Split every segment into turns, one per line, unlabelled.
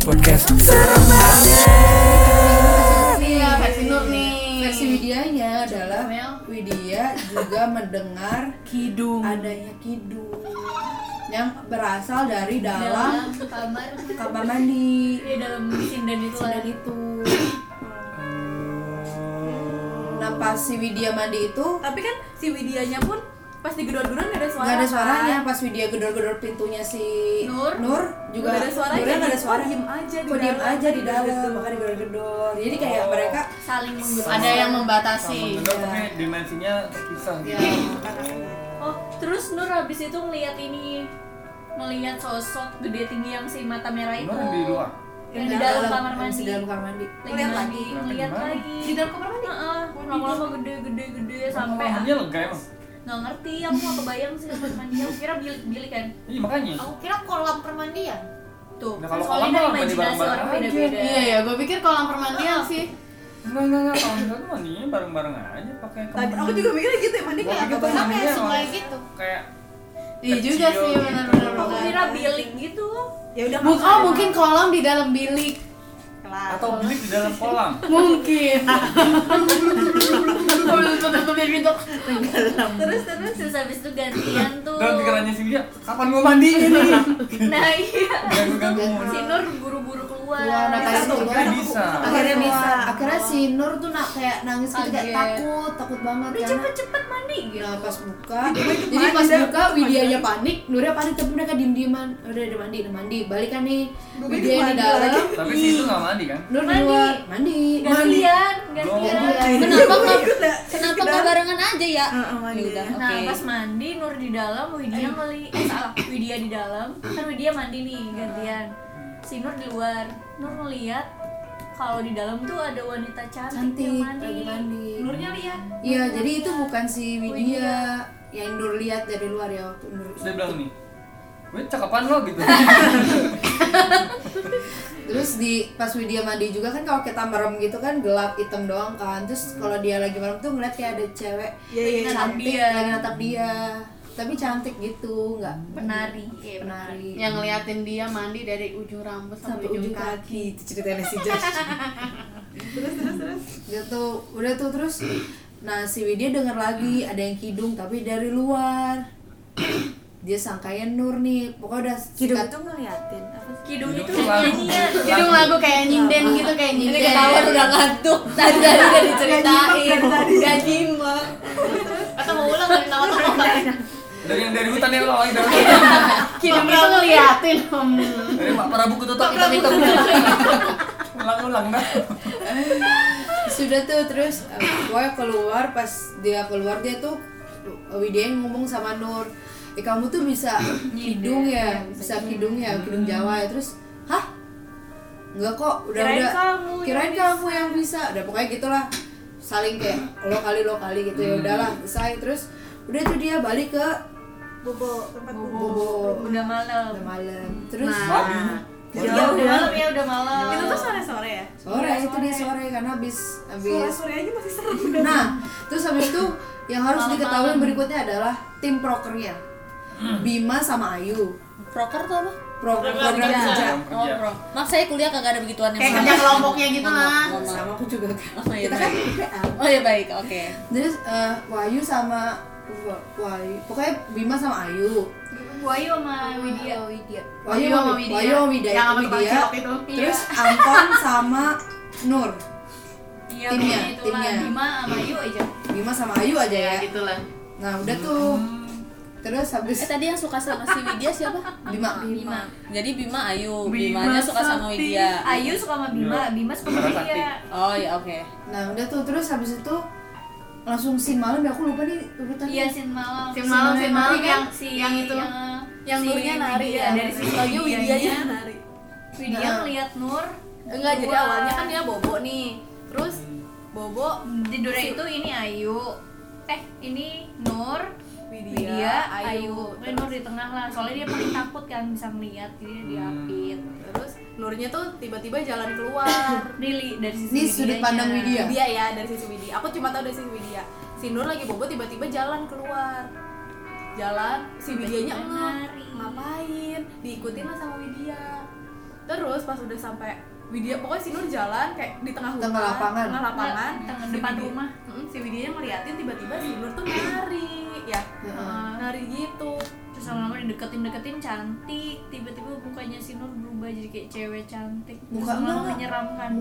podcast.
Iya, versi Nur nih.
Versi Widianya adalah Widya juga mendengar
Kidung.
adanya kidung yang berasal dari dalam
dalam kamar
kamar mandi
di dalam sinden itu lah
dan itu. Nah pas si Widya mandi itu
Tapi kan si Widianya pun pas digedor-gedor nggak ada suara.
nggak ada suaranya
kan?
pas Widya gedor-gedor pintunya si
Nur.
juga
Nggak ada suaranya.
Nurnya nggak ada
Kok
suara.
diem aja di
Kok diem
dalam?
aja di dalam makanya gedor-gedor. Jadi kayak mereka
saling menggunakan
Ada yang
Sama
membatasi.
mendengar
Iya.
tapi dimensinya terpisah.
ya
gitu.
oh terus Nur habis itu ngeliat ini ngeliat sosok gede tinggi yang si mata merah itu
Gimana di luar?
yang di dalam kamar
yang
mandi
di dalam kamar mandi.
Lagi
Ngeliat
mandi,
lagi.
ngeliat
Gimana?
lagi
Di dalam kamar mandi?
Heeh, lama-lama gede-gede-gede sampai
Kamarnya Iya, lega emang.
nggak ngerti aku nggak kebayang sih kamar mandi aku kira bilik-bilik kan
Iya makanya.
aku kira
Kan
kolam permandian tuh
Nah,
kan
kalau
soalnya
kolam
dari
mah mandi
imajinasi
bareng-bareng
orang
aja.
beda-beda
Iya ya, gue pikir kolam
Ah,
permandian sih.
Enggak enggak enggak. Kalau enggak tuh mandinya bareng-bareng aja pakai
Tadi
kemudi.
aku juga mikirnya gitu ya, mandi
Iya,
Gua
kayak
pikir
apa?
tuh mandinya
sungai
emang
gitu.
Kayak
Iya juga
kecil
sih,
gitu.
benar-benar.
aku kira bilik gitu
Ya udah. Mungkin oh, mungkin kolam di dalam bilik.
atau bilik di dalam kolam.
Mungkin. Iya,
terus terus terus habis itu gantian tuh
Dan pikirannya sih dia, kapan gua mandinya nih?
nah iya
Ganggu-ganggu mulu.
si Nur buru-buru keluar
Keluar, nah, kayak
Satu,
gitu.
kan aku-
Bisa.
aku-
akhirnya
aku-
bisa
aku-
akhirnya si Nur tuh nak kayak nangis gitu kayak
Kaget.
takut takut banget
udah
karena
cepet-cepet mandi gitu
kan." Nah, pas buka jadi
mandi
pas
dah.
buka Widianya panik Nurnya panik tapi mereka diem dieman udah udah mandi udah mandi balikan nih
Gua
Widya
pikir
di
mandi
dalam
lagi.
Tapi si itu nggak mandi kan?
Nur di
Mandi.
luar mandi Iya. mandi
gantian gantian
Nah,
kenapa nggak kenapa nggak barengan aja ya
nah pas mandi Nur di dalam Widya ngeli eh salah Widya di dalam kan Widya mandi nih gantian si Nur di luar Nur ngeliat kalau di dalam tuh ada wanita cantik,
cantik lagi
yang mandi
mandi
Nurnya lihat
iya jadi itu bukan si Widya yang Nur lihat dari luar ya waktu Nur
Terus dia bilang nih, gue cakepan lo gitu.
Terus di pas Widya mandi juga kan kalau kita merem gitu kan gelap hitam doang kan. Terus kalau dia lagi merem tuh ngeliat kayak ada cewek
Iya, iya, iya.
cantik
Dia.
lagi natap dia. Tapi cantik gitu, nggak
penari
Iya,
eh,
penari.
Yang ngeliatin dia mandi dari ujung rambut
sampai ujung kaki itu ceritanya si Josh gitu udah tuh terus nah si Widya dengar lagi ada yang kidung tapi dari luar dia sangkanya Nur nih pokoknya udah
Hidup
sikat-
itu ngeliatin apa sih?
Kidung
Hidung
itu
tuh lagu.
nyanyian
Hidung lagu kayak nyinden gitu kayak
ini
nyinden.
ketahuan udah ngantuk tadi tadi udah diceritain udah nyimak
atau mau ulang dari nama tokoh
Dari yang dari hutan ya lo, yang dari hutan.
Hidung itu ngeliatin. hmm.
Dari Pak Prabu ketutup hitam-hitam. Ulang-ulang dah.
sudah tuh terus eh, gue keluar pas dia keluar dia tuh Widya yang ngomong sama Nur eh kamu tuh bisa kidung ya bisa kidung ya kidung Jawa ya terus hah nggak kok udah
Kirain
udah
kamu yang
kirain kamu yang bisa udah pokoknya gitulah saling kayak lo kali lo kali gitu ya udahlah selesai terus udah tuh dia balik ke
Bobo tempat bobo.
Bobo
udah malam
udah Oh. malam terus
Nah,
udah malam ya udah malam
Itu tuh sore-sore ya?
sore itu dia sore karena habis
Iya.
habis
Sore-sore aja masih serem.
Nah, terus habis itu yang harus diketahui berikutnya adalah tim prokernya.
Hmm.
Bima sama Ayu.
Proker tuh apa?
Proker program kerja.
Jam
Iya.
kerja.
Mak saya kuliah kagak ada begituan
kayak kerja kelompoknya gitu lah.
Sama aku juga.
Oh iya
Kita kan PPL.
Oh iya baik, oke.
Terus eh, Wahyu sama Wa- Wahyu, pokoknya Bima sama Ayu.
Buayu sama Widya Widya
Wahyu
Wahyu sama Widya.
Wahyu sama Widya.
Yang sama Iya. tukang
Widya.
cilok itu.
Terus Anton sama Nur.
Iya,
Timnya,
pokoknya itulah
timnya.
Bima sama Ayu aja
Bima sama Ayu aja
Ya
ya.
gitulah.
Nah, udah tuh.
Hmm.
Terus habis
Eh tadi yang suka sama si Widya siapa?
Bima.
Bima
Jadi Bima Ayu, Bimanya suka sama Widya.
Ayu suka sama Bima, Bima suka sama
Bima
Widya
Oh iya oke.
Nah, udah tuh terus habis itu langsung scene malam ya aku lupa nih urutannya.
Iya, Sin Malam
Sin malam, sin malam yang
si
yang itu.
yang Nurnya nari ya dari sisi
Iya,
Soalnya Widyanya
Nari.
Widya
Nah.
ngeliat Nur
Enggak, jadi
keluar.
awalnya kan dia bobo nih. Terus bobo
di Dora itu ini Ayu eh ini Nur
Widya,
Widya, Ayu,
Ayu.
Pokoknya Nur di tengah lah, soalnya dia paling takut kan bisa melihat, jadi dia
Hmm.
diapit
terus Nurnya tuh tiba-tiba jalan keluar.
Dili dari sisi
Ini sudut
Widyanya.
pandang
Iya.
Widya.
Widya ya dari sisi Widya. Aku cuma tahu dari sisi Widya. Si Nur lagi bobo tiba-tiba jalan keluar. Jalan si Widyanya
Tiba-tiba
enggak
nari.
ngapain? Diikutin lah sama Widya. Terus
terus pas udah sampai Widya pokoknya si Nur jalan kayak di tengah hutan,
Tengah lapangan.
tengah lapangan,
Iya, Tengah
si
depan
Widya-
rumah.
Mm, si Widya ngeliatin tiba-tiba si Nur tuh nari, ya nari gitu.
terus lama-lama dideketin-deketin cantik tiba-tiba mukanya si Nur berubah jadi kayak cewek cantik terus
Muka
lama-lama
enggak.
menyeramkan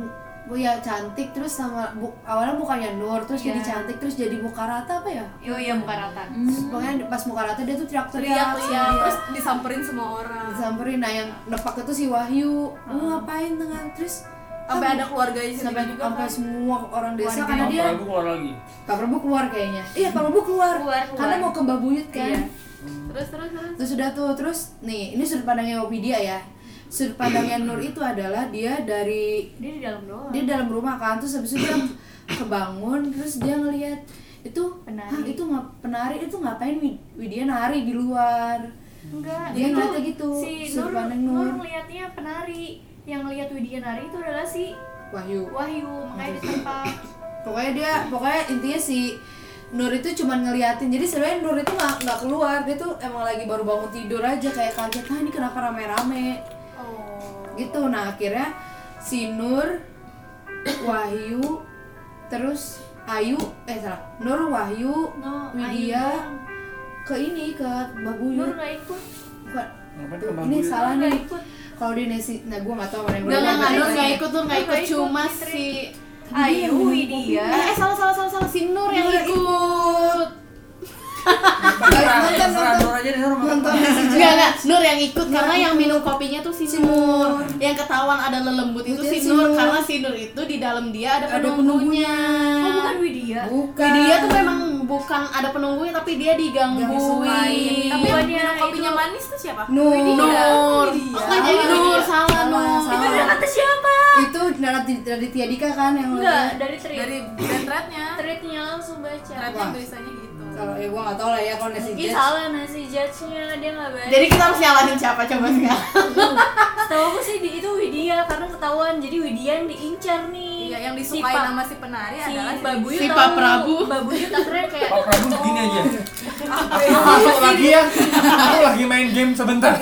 Bu ya cantik terus sama bu, awalnya mukanya Nur terus jadi
Iya.
cantik terus jadi muka rata apa ya?
yo iya muka rata
Hmm.
Terus Pokoknya pas muka rata dia tuh Hmm. teriak-teriak.
Teriak
iya. sama
teriak
dia.
terus disamperin semua orang.
disamperin nah yang nepak itu si Wahyu. Lu ngapain tengah terus kan
Sampai ada keluarganya
sampai
sendiri juga.
sampai
kan.
semua orang desa
Warga.
karena dia
Apalagi keluar lagi.
Pak Prabu keluar kayaknya. Iya, Pak Prabu keluar.
Keluar, keluar.
Karena mau ke Mbak Buyut kan.
Terus terus terus.
Terus sudah tuh, terus nih, ini sudut pandangnya Widya ya. Sudut pandangnya Nur itu adalah dia dari
dia di dalam doang
dia dalam rumah kan, terus habis itu dia kebangun, terus dia ngelihat itu
Penari.
"Hah, itu nggak penari itu ngapain Wid- Widya nari di luar
enggak
Dia
itu
ngeliatnya gitu,
si Nur
sudut pandang Nur.
Nur ngeliatnya penari yang ngeliat Widya nari itu adalah si
Wahyu
Wahyu makanya ditempa
pokoknya dia pokoknya intinya si Nur itu cuman ngeliatin jadi sebenarnya Nur itu nggak nggak keluar dia tuh emang lagi baru bangun tidur aja kayak kaget ah ini kenapa rame-rame gitu nah akhirnya si Nur Wahyu terus Ayu eh salah Nur Wahyu
No,
Widya
Ayu
ke ini ke
Nur
Baguyur
nggak ikut
bukan
Ngapain ke
tuh,
Mbak
ini
Buyut?
salah
nggak
nih
ikut
kalau di Nesi nah gue nggak tahu mana yang
Enggak, enggak, enggak, Nur
bener.
nggak ikut, Nur nggak ikut,
Nggak ikut,
cuma
Fitri.
si
Ayu Widya
Eh, eh, salah, salah, salah, salah, si Nur yang
Nur
ikut
Ayo, nonton,
Terserah
nonton.
Nur aja deh, Nur makan.
nonton Nesi
Enggak, enggak, Nur yang ikut, karena yang minum kopinya tuh si Nur Yang ketahuan ada lelembut itu
Itu
si
si
Nur,
Nur.
karena si Nur itu di dalam dia ada
Ada
penunggunya
oh bukan Widya
bukan
Jadi dia tuh memang bukan ada penunggunya, tapi dia digangguin
Digangguin.
Tapi
Bukannya
Minum kopinya
Iya, itu-
manis tuh siapa?
Nur Iya.
Nur, oh nggak jadi
Salah.
Nur, salah
Salah,
Nur
salah.
kata siapa
itu Radit- Raditya Dika kan yang
enggak dari Tri
Dari brand-brandnya.
treatnya langsung baca
Ternyata
Wah.
tulisannya gitu.
kalau ya gue nggak tahu lah ya kalau Nesi
mungkin
Jazz
salah nasi judge-nya dia nggak baca
Jadi kita harus nyalahin siapa coba sekarang
setahu aku sih di- itu Widya karena ketahuan jadi Widya yang diincar nih
Iya, yang
Si
disukai
Pa-
nama si penari
si
adalah
Babuyu
Si
tahu.
Pak Prabu.
Babuyu akhirnya kayak
Pak Prabu begini aja. Aku lagi ya. Aku lagi main game sebentar.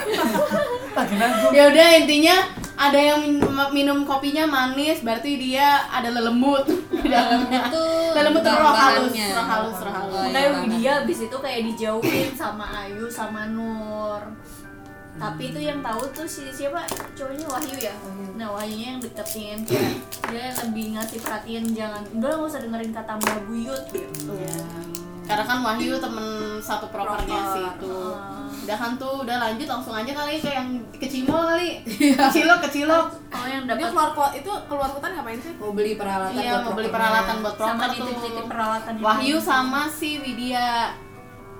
Lagi nanggung.
ya udah intinya ada yang min- minum kopinya manis berarti dia ada lelembut di dalamnya
Itu
lelembut tuh roh halus
gambarannya.
roh halus roh halus
Oh,
kayak
iya,
Widya abis itu kayak dijauhin sama Ayu sama Nur tapi itu yang tahu tuh si siapa cowoknya Wahyu ya nah Wahyunya yang deketin dia lebih ngasih perhatian jangan udah nggak usah dengerin kata mbak buyut gitu
karena kan Wahyu temen satu propernya sih itu udah kan tuh udah lanjut langsung aja kali ke yang kecimo kali kecilok kecilok
oh yang
dia
dapat
keluar keluar itu keluar hutan ngapain sih?
mau beli peralatan
iya
buat
mau beli
propernya.
peralatan buat
sama
proper tuh
dititip-titip peralatan itu.
Wahyu sama si Widya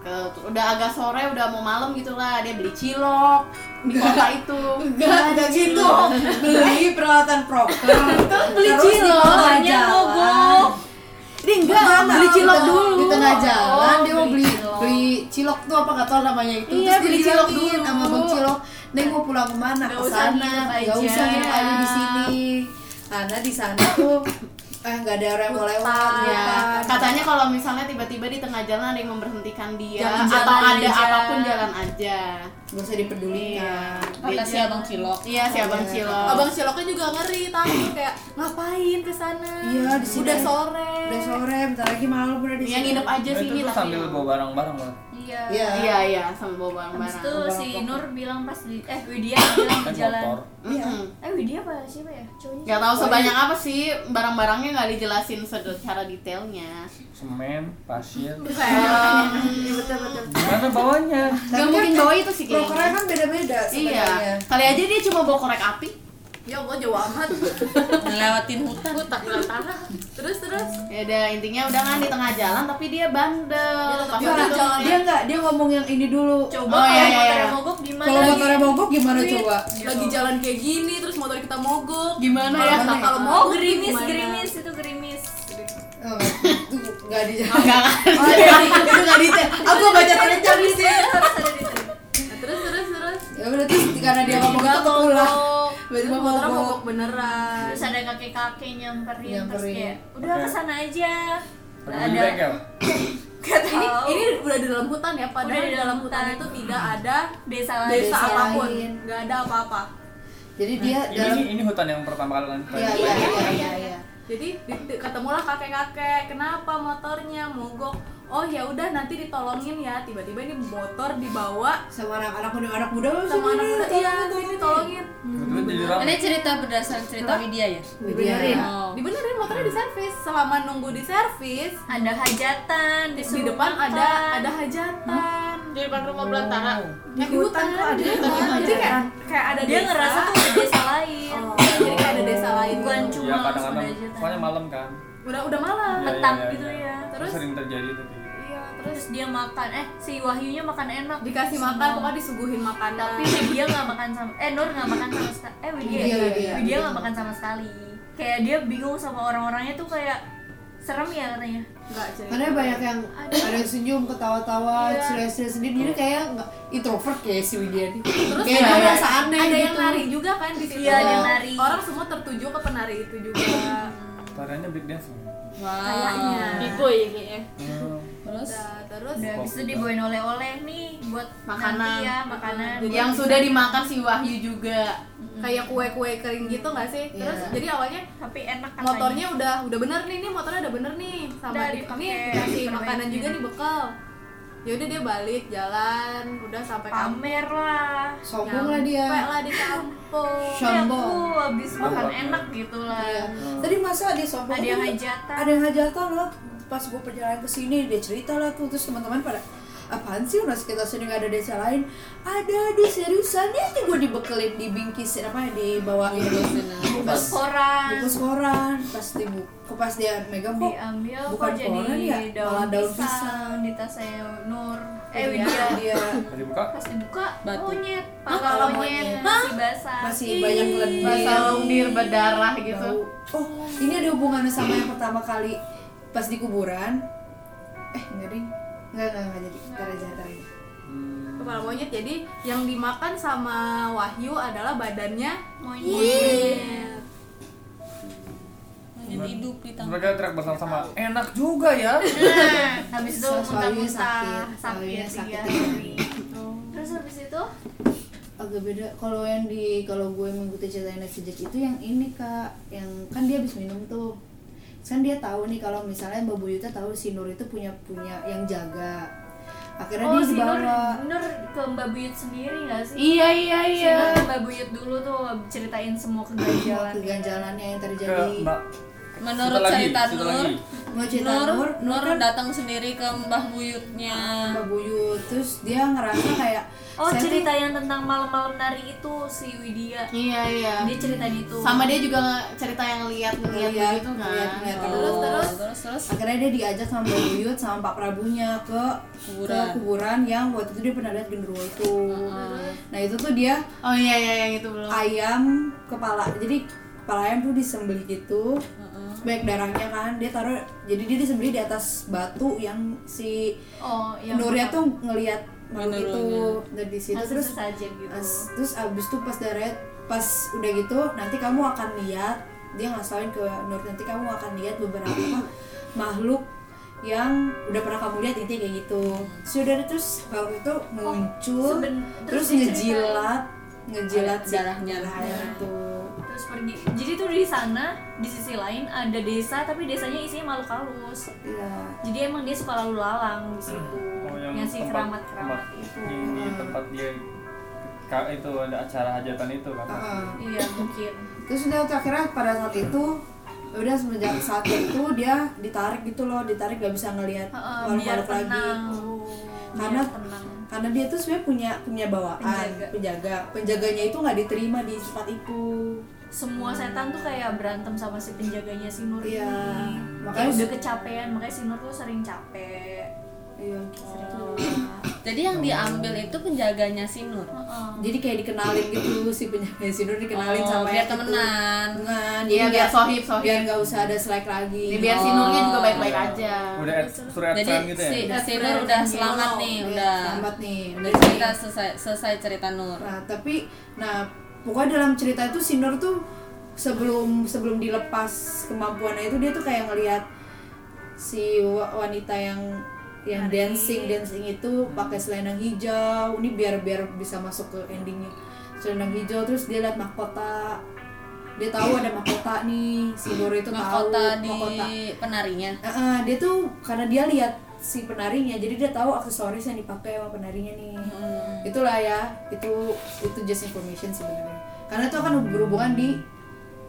Ke- udah agak sore udah mau malam gitulah dia beli cilok di kota itu
Enggak, enggak gitu. Beli peralatan proker. Terus
beli
di
cilok, Iya,
tengah
banyak
jalan.
mogok. Ini enggak, beli cilok
di tengah-
dulu.
Di tengah jalan
Oh,
dia mau beli
beli cilok.
beli cilok tuh apa enggak tahu namanya itu.
Iya,
Terus dia
beli cilok
bilangin
dulu.
sama Bang Cilok. Neng mau pulang kemana?
Nggak
Ke
usah
sana.
nginep
Enggak
aja."
usah nginep aja di sini. Karena di sana tuh eh enggak ada orang yang mau lewat
Ya,
ya.
katanya kalau misalnya tiba-tiba di tengah jalan ada yang memberhentikan dia
Jalan-
atau
jalan
ada
aja.
apapun jalan aja.
Enggak usah dipedulikan.
Kata si abang cilok.
Iya, si Abang Cilok.
Abang Ciloknya juga ngeri, takut kayak ngapain ke sana?
Iya, di sini.
Udah sore.
Udah sore, bentar lagi malam udah di
yang
sini.
Iya, nginep aja
Nah, Itu
sini
tuh
tapi.
sambil bawa barang-barang lah.
iya
Iya.
Iya, iya, sambil bawa
Habis itu
barang-barang.
si Nur bilang pas di eh Widya bilang di
Kan
jalan
motor.
Iya.
eh Widya apa siapa ya cowoknya
Gak tahu sebanyak apa sih barang-barangnya nggak dijelasin secara detailnya.
Semen, pasir.
Iya, betul betul.
Gimana bawanya?
Gak mungkin kan bawa itu sih
Prokernya
kayaknya.
kan beda-beda sebenarnya.
Iya, kali aja dia cuma bawa korek api.
Ya Allah jauh amat.
Ngelewatin hutan.
Hutan dalam tanah. Terus terus
Ya udah intinya udah kan di tengah jalan tapi dia bandel. Pas
Dia nggak
itu-
jalan, dia nggak, dia ngomong yang ini dulu.
coba
Oh,
kalau
iya, iya,
motornya
iya.
mogok gimana
Kalau
lagi?
motornya mogok gimana coba?
lagi jalan kayak gini terus motor kita mogok.
Gimana ya?
Nah, kalau
oh
mogok
gerimis
gimana?
gerimis itu gerimis
Oh, itu nggak di
Enggak, enggak.
Oh, iya, itu nggak di Aku baca kencang di sini.
harus ada di sini
Nah, terus terus terus.
Ya udah terus karena dia ngomong itu aku pulang.
Terus
Tiba-tiba
motornya
mogok.
mogok beneran.
terus ada kakek kakek nyamperin, terus
Nyamperin.
kayak udah
Oke.
kesana aja
Pergi bengkel.
Ini ini udah di dalam hutan ya, padahal
Udah di
di
dalam
dalam hutan
hutan.
itu tidak ada eh,
desa lain
desa
Desa
apapun.
lain.
Nggak ada apa-apa.
Jadi dia dalam
Ini, ini hutan yang pertama kali kalian
Iya, iya, iya, iya, iya.
jadi di- di- ketemulah kakek-kakek kenapa motornya mogok oh ya udah nanti ditolongin ya tiba-tiba ini motor dibawa
Sama anak-anak muda, anak muda
sama anak muda iya sini tolongin
Kebetulan jadi ramai.
Ini cerita berdasarkan cerita media ya?
Dibenerin.
Oh.
Iya. dibenerin motornya di servis selama nunggu di servis
ada hajatan
di
disuruh
depan
makan.
ada ada hajatan
Di depan rumah belantara.
di hutan tuh ada kan? jadi
kan?
kayak kayak ada
dia
desa.
ngerasa tuh ada desa lain
Oh, jadi kayak ada desa lain
bukan
gitu.
cuma
Iya,
langsung
kadang-kadang.
ada hajatan
Soalnya malam kan.
udah udah malam
Iya,
Petang
iya, iya,
gitu
iya.
ya.
Terus-
sering terjadi itu. kayak gitu.
iya terus
terus dia makan eh si Wahyunya makan enak
dikasih
Semua.
makan pokoknya disuguhin makanan
tapi dia nggak makan sama eh Nur nggak makan sama sekali eh Widya
Iya,
Widya, Widya.
Widya nggak makan sama sekali kayak dia bingung sama orang-orangnya tuh kayak serem ya katanya
nggak cuy
Karena banyak yang ada yang senyum, ketawa-tawa,
Iya.
ceria-ceria sendiri. Jadi kayak nggak- introvert kayak si Widya nih.
terus
kayak
ada,
dia merasa aneh
ada
gitu.
yang nari juga kan di situ
Iya, ada yang
Oh.
nari.
orang semua tertuju ke penari itu juga
Tariannya break dance.
Wow.
Kiko ya kayaknya.
Hmm.
Terus
Nah, terus
udah habis itu dibawain oleh-oleh nih buat
Makanan.
nanti ya makanan
Yang sudah dimakan si Wahyu juga.
kayak kue-kue kering gitu nggak sih terus
Iya.
jadi awalnya
tapi enak kan katanya
motornya udah udah bener nih ini motornya udah bener nih sama
Udah
adik
dipakai,
nih dikasih
diperbaikin.
makanan juga nih bekal ya udah dia balik jalan udah sampai kampung
pamer lah
Sombong lah dia.
Nyampe lah di kampung
Ya,
Sombong.
aku habis makan
Sombong.
enak gitu lah
Iya. Tadi masa dia sombong.
Ada yang
tuh,
hajatan.
Ada yang hajatan lah. Pas gue perjalanan ke sini dia cerita lah tuh terus teman-teman pada apaan sih orang sekitar sini nggak ada desa lain ada di seriusan ya gue dibekelin dibingkisin apa ya, dibawain
terus
bungkus
koran
bungkus koran pas dibuka pas dia megang kok
diambil
Bukan
kok jadi
koran ya, malah
daun,
daun
pisang,
pisang.
di tasnya Nur eh
eh
Widya
dia
Pas dibuka,
pas dibuka
Batu.
monyet
kalau
pangkal
monyet?
monyet masih basah
masih banyak lendir
Basah lendir berdarah gitu.
Bau. oh ini ada hubungannya sama yang pertama kali pas di kuburan eh enggak deh enggak enggak enggak jadi ntar aja ntar aja
kepala monyet jadi yang dimakan sama Wahyu adalah badannya
monyet
Iya.
lanjut hidup di tangga.
mereka teriak bersama-sama. Enak juga ya.
Nah, habis itu
Soalnya
muntah-muntah
sakit, soalnya
sakit
sakit
tiga
tiga
hari terus habis itu
agak beda kalau yang di kalau gue mengikuti ceritanya sejak itu yang ini kak yang kan dia habis minum tuh Terus kan dia tahu nih kalau misalnya Mbak Buyutnya tahu si Nur itu punya punya yang jaga akhirnya
oh
dia
si Nur
dibawa
Nur ke Mbak Buyut sendiri nggak sih
Iya iya
Si
iya.
Nur ke Mbak Buyut dulu tuh ceritain semua
mau
keganjalan
keganjalannya yang
Ke
terjadi
Mbak. Satu
Menurut
lagi,
cerita
satu
Nur,
lagi.
mau cerita
Nur,
Nur kan
Nur datang sendiri ke Mbah Buyutnya.
Mbak Buyut terus dia ngerasa kayak
oh
saya tuh-
cerita yang tentang malam-malam nari itu si Widya
Iya iya.
dia ceritain itu
Sama dia juga nge- cerita yang lihat-lihat
Gitu. Iya, Ngeliat,
gitu kan.
ngeliat-ngeliat.
Terus,
Terus, terus.
terus, terus, terus.
akhirnya dia diajak sama Mbak Buyut sama Pak Prabunya ke
Kuburan.
ke kuburan yang waktu itu dia pernah lihat genderuwo itu nah itu tuh dia
Oh iya iya yang itu belum.
ayam kepala jadi kepala ayam tuh disembelih gitu banyak darahnya kan dia taruh jadi dia disembelih di atas batu yang si
oh yang
Nuria tuh ngelihat makhluk itu
Genderuwonya.
dari di situ
masih
terus
sesajen gitu
As- terus abis tuh pas darahnya pas udah gitu nanti kamu akan lihat dia ngasain ke Nur nanti kamu akan lihat beberapa makhluk yang udah pernah kamu lihat intinya kayak gitu sudah terus kalau itu muncul
seben-
Oh, terus,
terus
ngejilat ngejilat si
Darahnya.
darahnya Iya. itu
terus pergi jadi tuh di sana di sisi lain ada desa tapi desanya isinya makhluk halus
iya
jadi emang dia suka lalu lalang di situ
Oh,
yang, si
tempat-
keramat keramat
tempat-
itu Hmm.
Ini tempat dia ka- itu ada acara hajatan itu kan.
Heeh.
iya mungkin
terus udah tuh akhirnya pada saat itu udah semenjak saat itu dia ditarik gitu loh ditarik gak bisa ngelihat
Heeh, biar
makhluk-makhluk lagi
tenang
Karena-
biar tenang
karena dia tuh sebenarnya punya punya bawaan
Penjaga.
penjaga, penjaganya itu nggak diterima di tempat itu
semua setan tuh kayak berantem sama si penjaganya si Nur
Iya.
ini
Makanya
makanya udah
si-
kecapean makanya si Nur tuh sering capek
iya
Jadi yang diambil itu penjaganya si Nur.
Heeh.
jadi kayak dikenalin gitu si penjaga si Nur dikenalin
Oh,
sama
biar
yang itu.
temenan.
temenan
Iya,
jadi
biar
nggak-
sohib, sohib.
biar Oh. nggak usah ada selek lagi
Ini biar si Nurnya juga baik-baik aja.
Iya. Udah ad, surat
Jadi
friend gitu ya.
si, si Nur udah selamat nih,
Iya,
udah.
selamat nih
Udah
Jadi-
cerita selesai, selesai cerita Nur.
Nah, tapi nah pokoknya dalam cerita itu Sinur tuh sebelum sebelum dilepas kemampuannya itu dia tuh kayak ngelihat si wa- wanita yang yang dancing dancing itu pakai selendang hijau ini biar biar bisa masuk ke endingnya selendang hijau terus dia lihat mahkota dia tahu ada mahkota nih si Doro itu
mahkota
tahu
di
mahkota
penarinya
Eh, eh, dia tuh karena dia lihat si penarinya jadi dia tahu aksesoris yang dipakai sama penarinya nih
Hmm.
itulah ya itu itu just information sebenarnya karena itu akan berhubungan di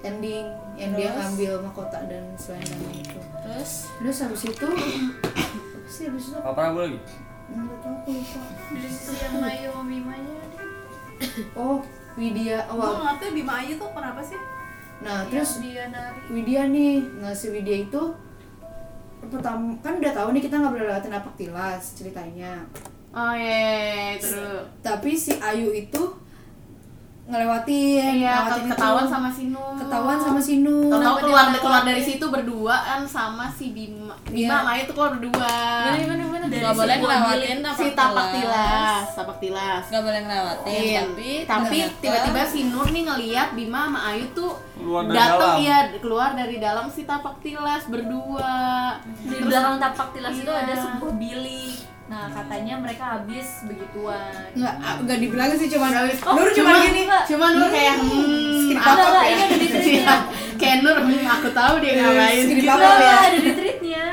ending yang dia
Terus?
ngambil mahkota dan selendangnya itu
terus
terus habis itu apa sih habis itu
Apa aku lagi?
nggak tahu aku lupa
dari sisi yang Mayomi Mayomi
oh Widya
Gue
awal
nggak tahu Bima Ayu tuh kenapa sih?
nah terus
dia nari
Widya nih nah si Widya itu pertama kan udah tahu nih kita nggak boleh lewatin apa tilas ceritanya
Oh iya, itu dulu.
tapi si Ayu itu ngelewatin
Iya,
ngelewatin itu.
ketahuan sama Sinu.
ketahuan sama Sinu
Tahu
Kenapa dia
keluar
ngelakuin?
keluar dari situ berduaan sama si Bima.
Iya.
Bima sama Ayu tuh keluar berdua.
Iya,
gimana gimana nggak boleh ngelewatin apa
si tapak tilas, tapak tilas. Iya,
nggak boleh ngelewatin
Iya.
tapi
tapi
ternyata-
tiba-tiba si Nur nih ngeliat Bima sama Ayu tuh
Keluar dari
datang
dalam.
ya keluar dari dalam si tapak tilas berdua.
di belakang tapak tilas itu
Iya.
ada sebuah bilik nah katanya mereka habis begituan
nggak nggak dibilangin sih cuman
Oh,
Nur cuman
cuman-
gini
Enggak.
Cuman Nur kayak hmm,
Skip
apa
tapak ya.
ya?
Ini ada di
Iya.
tweetnya.
Kayak Nur, hmm, aku tahu dia ngapain.
Iya, Skip
Gitu.
tapak ya
Wah, ada di tweetnya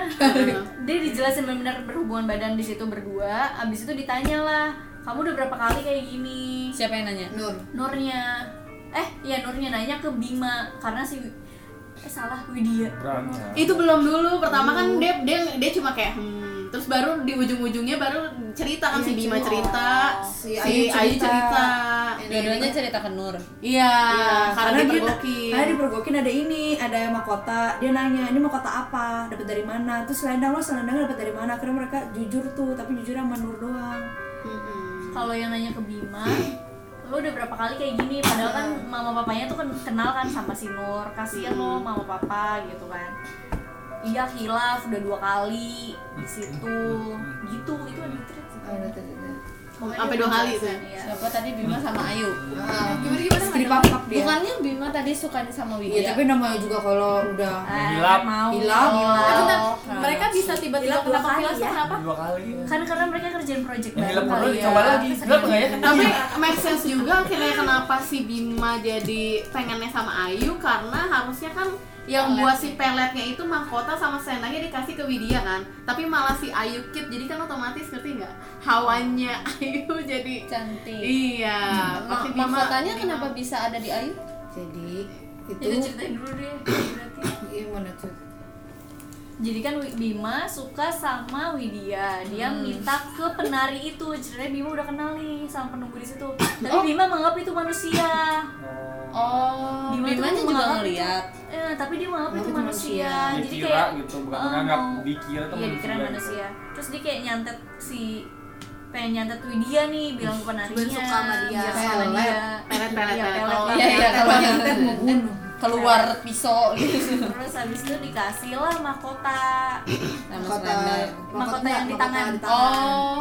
dia dijelasin benar-benar berhubungan badan di situ berdua abis itu ditanya lah kamu udah berapa kali kayak gini
siapa yang nanya
Nur
Nurnya eh ya Nurnya nanya ke Bima karena si eh salah Widya
Berangkat.
Iya.
itu belum dulu pertama kan
Hmm.
dia dia dia cuma kayak hmm terus baru di ujung-ujungnya baru cerita kan si Bima cerita
Iya, si Ayu
si Ayu cerita,
cerita.
dua-duanya cerita ke Nur
iya karena,
karena dia
dipergoki
karena dipergokin ada ini ada mahkota dia nanya ini mahkota apa dapat dari mana terus selendang lo selendangnya dapat dari mana karena mereka jujur tuh tapi jujur sama Nur doang
kalau yang nanya ke Bima lo udah berapa kali kayak gini padahal kan mama papanya tuh kan kenal kan sama si Nur kasihan lo mama papa gitu kan iya hilaf udah dua kali di situ gitu itu ada tweet sih. Pokoknya
Sampai dua kali
penjelasan,
itu ya?
iya.
siapa tadi Bima sama Ayu
gimana gimana di papak Ah, dia
bukannya Bima tadi suka sama Widya
Iya, tapi namanya juga kalau udah
Ah, oh.
Hilaf.
mau
Hilaf.
hilaf.
Ah,
Mereka bisa tiba-tiba
Bilang dua
kenapa
kali
Vila
ya.
kenapa?
dua kali
kan karena mereka kerjain project
Yang
bareng
dilap
kali
dulu
ya.
dicoba lagi.
Kesenian.
Gelap nggak ya?
tapi make sense juga akhirnya kenapa si Bima jadi pengennya sama Ayu karena harusnya kan yang buat si peletnya itu mahkota sama selendangnya dikasih ke Widya kan tapi malah si Ayu keep jadi kan otomatis ngerti nggak hawanya Ayu jadi
cantik
iya
Ma-
pakai Bima-
mahkotanya
Bima.
kenapa bisa ada di Ayu
jadi itu Iya,
Jadi ceritain dulu deh berarti.
gimana tuh
Jadi kan Wi- Bima suka sama Widya. Dia minta ke penari itu. Ceritanya Bima udah kenal nih sama penunggu di situ. Tapi Bima menganggap itu manusia.
oh
Bima tuh
Bimanya juga
menganggap itu-
ngeliat
Eh, tapi dia menganggap
Menganggap
itu
itu
manusia.
manusia.
Jadi
Dikira
kayak
gitu, bukan
eh,
menganggap,
mau-
dikira tuh
Iya, dikira
manusia.
manusia. Terus dia kayak nyantet si pengen nyantet Widya nih bilang ke penarinya.
Cuman suka sama dia.
Biar suka sama dia.
Pelet, pelet,
Iya,
pelet.
pelet,
Oh,
iya
pelet.
iya kalau
Nyantet mau bunuh
keluar pisau gitu
Terus habis itu dikasih lah mahkota.
sama
mahkota
selendang
Mahkota yang di
mahkota
tangan.
oh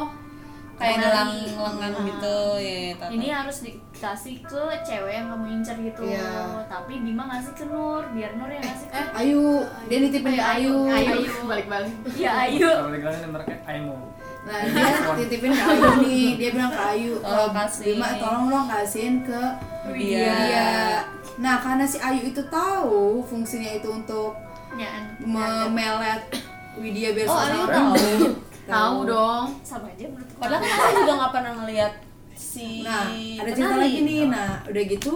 kayak
Lengan.
gelang lengan gitu ya tata.
Ini harus dikasih ke cewek yang kamu incer gitu.
Iya. Eh.
Tapi Bima ngasih ke Nur, biar Nur yang ngasih ke
Ayu dia nitipin ke Ayu
Ayu balik-balik
Ya Ayu.
Kalau digelarnya mereka Ayu mau.
nah dia titipin ke Ayu nih dia bilang ke Ayu
Tolong
"Eh,
kasih."
Bima tolong lo kasihin ke
Oh, Widya.
dia nah karena si Ayu itu tahu fungsinya itu untuk
Nyaan.
memelet Widya biar
Iya. oh Ayu
susah.
tahu
tahu dong
Sama aja menurutku.
padahal kan aku juga nggak pernah ngeliat si
Nah, ada cerita
penari.
lagi nih. Nah, udah gitu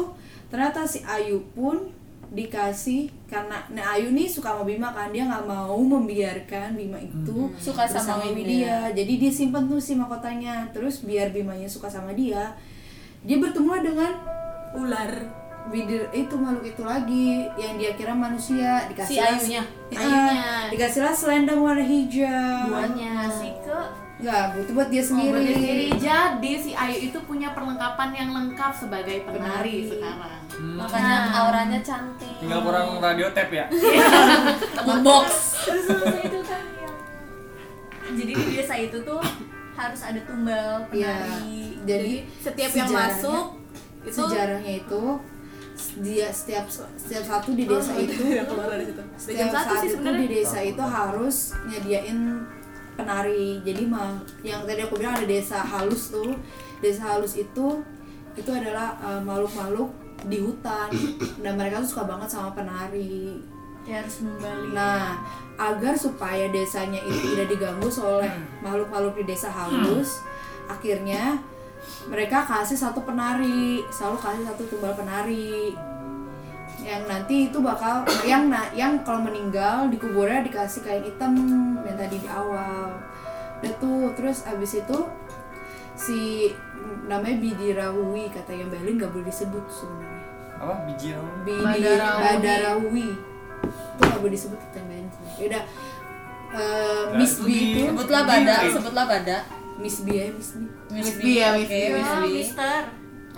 ternyata si Ayu pun dikasih karena nah Ayu nih suka sama Bima kan dia nggak mau membiarkan Bima itu
Suka sama
bersama
Widya.
Widya. Jadi dia simpen tuh si mahkotanya. Terus biar Bimanya suka sama dia, dia bertemu dengan
Ular.
Widir itu makhluk itu lagi yang dia kira manusia dikasih
Si Ayunya?
Ayunya. dikasihlah selendang warna hijau.
Ngasih ke
Enggak, itu buat dia sendiri.
Ngobrol Oh, sendiri. Jadi si Ayu itu punya perlengkapan yang lengkap sebagai penari,
Penari.
sekarang.
makanya
Nah.
auranya cantik
Tinggal kurang radio tap ya.
box
terus habis itu kan yang jadi di desa itu tuh harus ada tumbal
Iya.
penari.
Jadi
Setiap yang
sejarahnya-
masuk itu
sejarahnya itu dia setiap setiap satu di desa itu
Oh, iya, keluar dari situ. Dari
setiap
jam satu
satu
sih
itu
sebenarnya.
di desa itu harus nyediain penari jadi mah yang tadi aku bilang ada desa halus tuh desa halus itu itu adalah eh, makhluk-makhluk di hutan dan mereka tuh suka banget sama penari
Dia harus membalik.
Nah, agar supaya desanya itu tidak diganggu oleh makhluk-makhluk di desa halus, akhirnya mereka kasih satu penari, selalu kasih satu tumbal penari. Yang nanti itu bakal yang na- yang kalau meninggal di kuburnya dikasih kain hitam yang tadi di awal. Udah tuh, terus abis itu si namanya Bidirawi katanya Mbak Lin nggak boleh disebut sebenarnya.
apa biji raung
Bidi
Badarawi.
Badarawi itu nggak boleh disebut kita main yaudah eh,
Nah,
Miss
itu
B itu
di-
sebutlah bada sebutlah bada
Miss B ya Miss B
Miss
B ya, Miss
oke,
B.
Miss
Ah,
B.
Mister,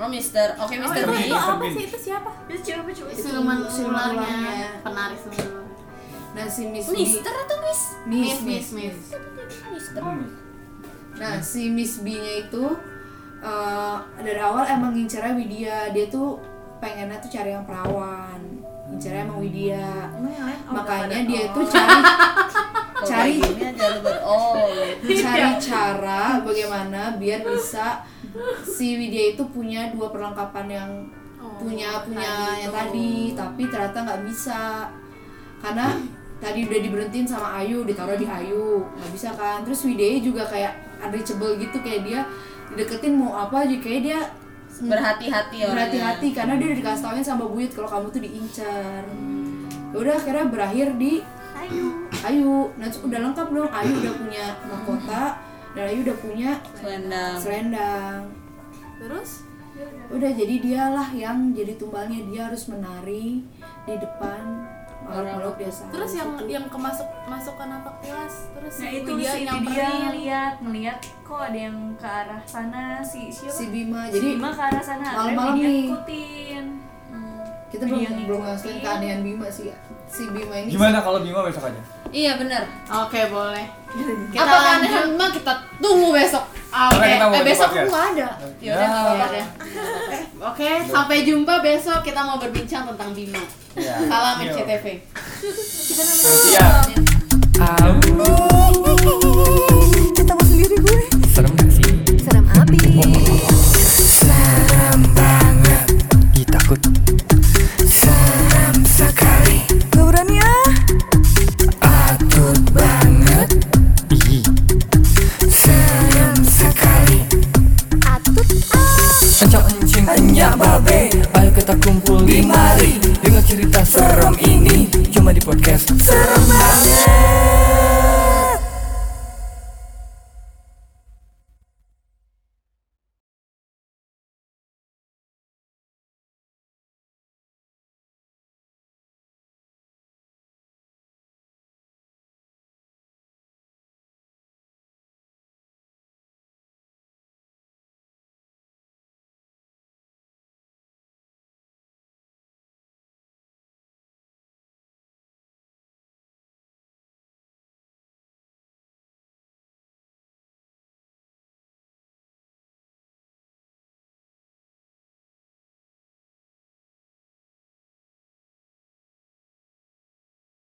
oh Mister oke Mister B
itu apa sih
itu siapa?
itu siapa coba?
siluman
siluman
ularnya
ularnya.
penari siluman
nah si Miss B
Mister atau Miss
Miss
Miss, Miss, Miss.
Mister
nah
Hmm.
si Miss B nya itu eh, dari awal emang ngincernya Widya dia tuh pengennya tuh cari yang perawan ngincernya
Hmm.
emang Widya makanya dia itu cari
Tuh,
Cari.
kayak gini aja lu ber- oh
cari cara bagaimana biar bisa si Widya itu punya dua perlengkapan yang
Oh,
punya punya yang tadi tapi ternyata nggak bisa karena tadi udah diberhentiin sama Ayu ditaruh di Ayu nggak bisa kan terus Widya juga kayak unreachable gitu kayak dia deketin mau apa aja kayak dia Iya,
berhati-hati ya, orangnya.
berhati-hati karena dia udah dikasih tauin sama Buyut kalau kamu tuh diincar Hmm. Ya udah akhirnya berakhir di Ayu nah terus udah lengkap dong Ayu udah punya mahkota dan Ayu udah punya
selendang
selendang
Terus?
udah jadi dialah yang jadi tumbalnya dia harus menari di depan makhluk-makhluk biasa
Terus yang
iya.
yang kemasuk masuk kenapa kelas? Terus
Nah itu
dia
si
yang
dia ngeliat, ngeliat kok ada yang ke arah sana si siapa?
si
Si,
Bima jadi
Bima kan ke arah sana. akhirnya
malam-malam
dia
nih.
Ikutin. Hmm.
kita
dia
belum belum
ngikutin.
ngasihin keanehan Bima sih si Bima ini
gimana kalau Bima besok aja
iya bener
Oke boleh. Kita
apa kan
lanjut.
Hanma kita tunggu besok
Karena kita mau
eh
di
besok
podcast.
aku nggak ada
Ya.
yaudah nggak apa-apa
Oke, sampai jumpa besok kita mau berbincang tentang Bima.
Ya.
Salam
Yuk.
MCTV.
Iya.
Siap.
Ketawa sendiri gue
Serem gak sih?
Serem abis Serem banget
Ih takut
Serem sekali Gak berani ah Akut banget
Ih
Serem sekali Atut ah
Encok encing
Hanya babe
Ayo kita kumpul di mari Dengar cerita serem ini Cuma di podcast
Serem banget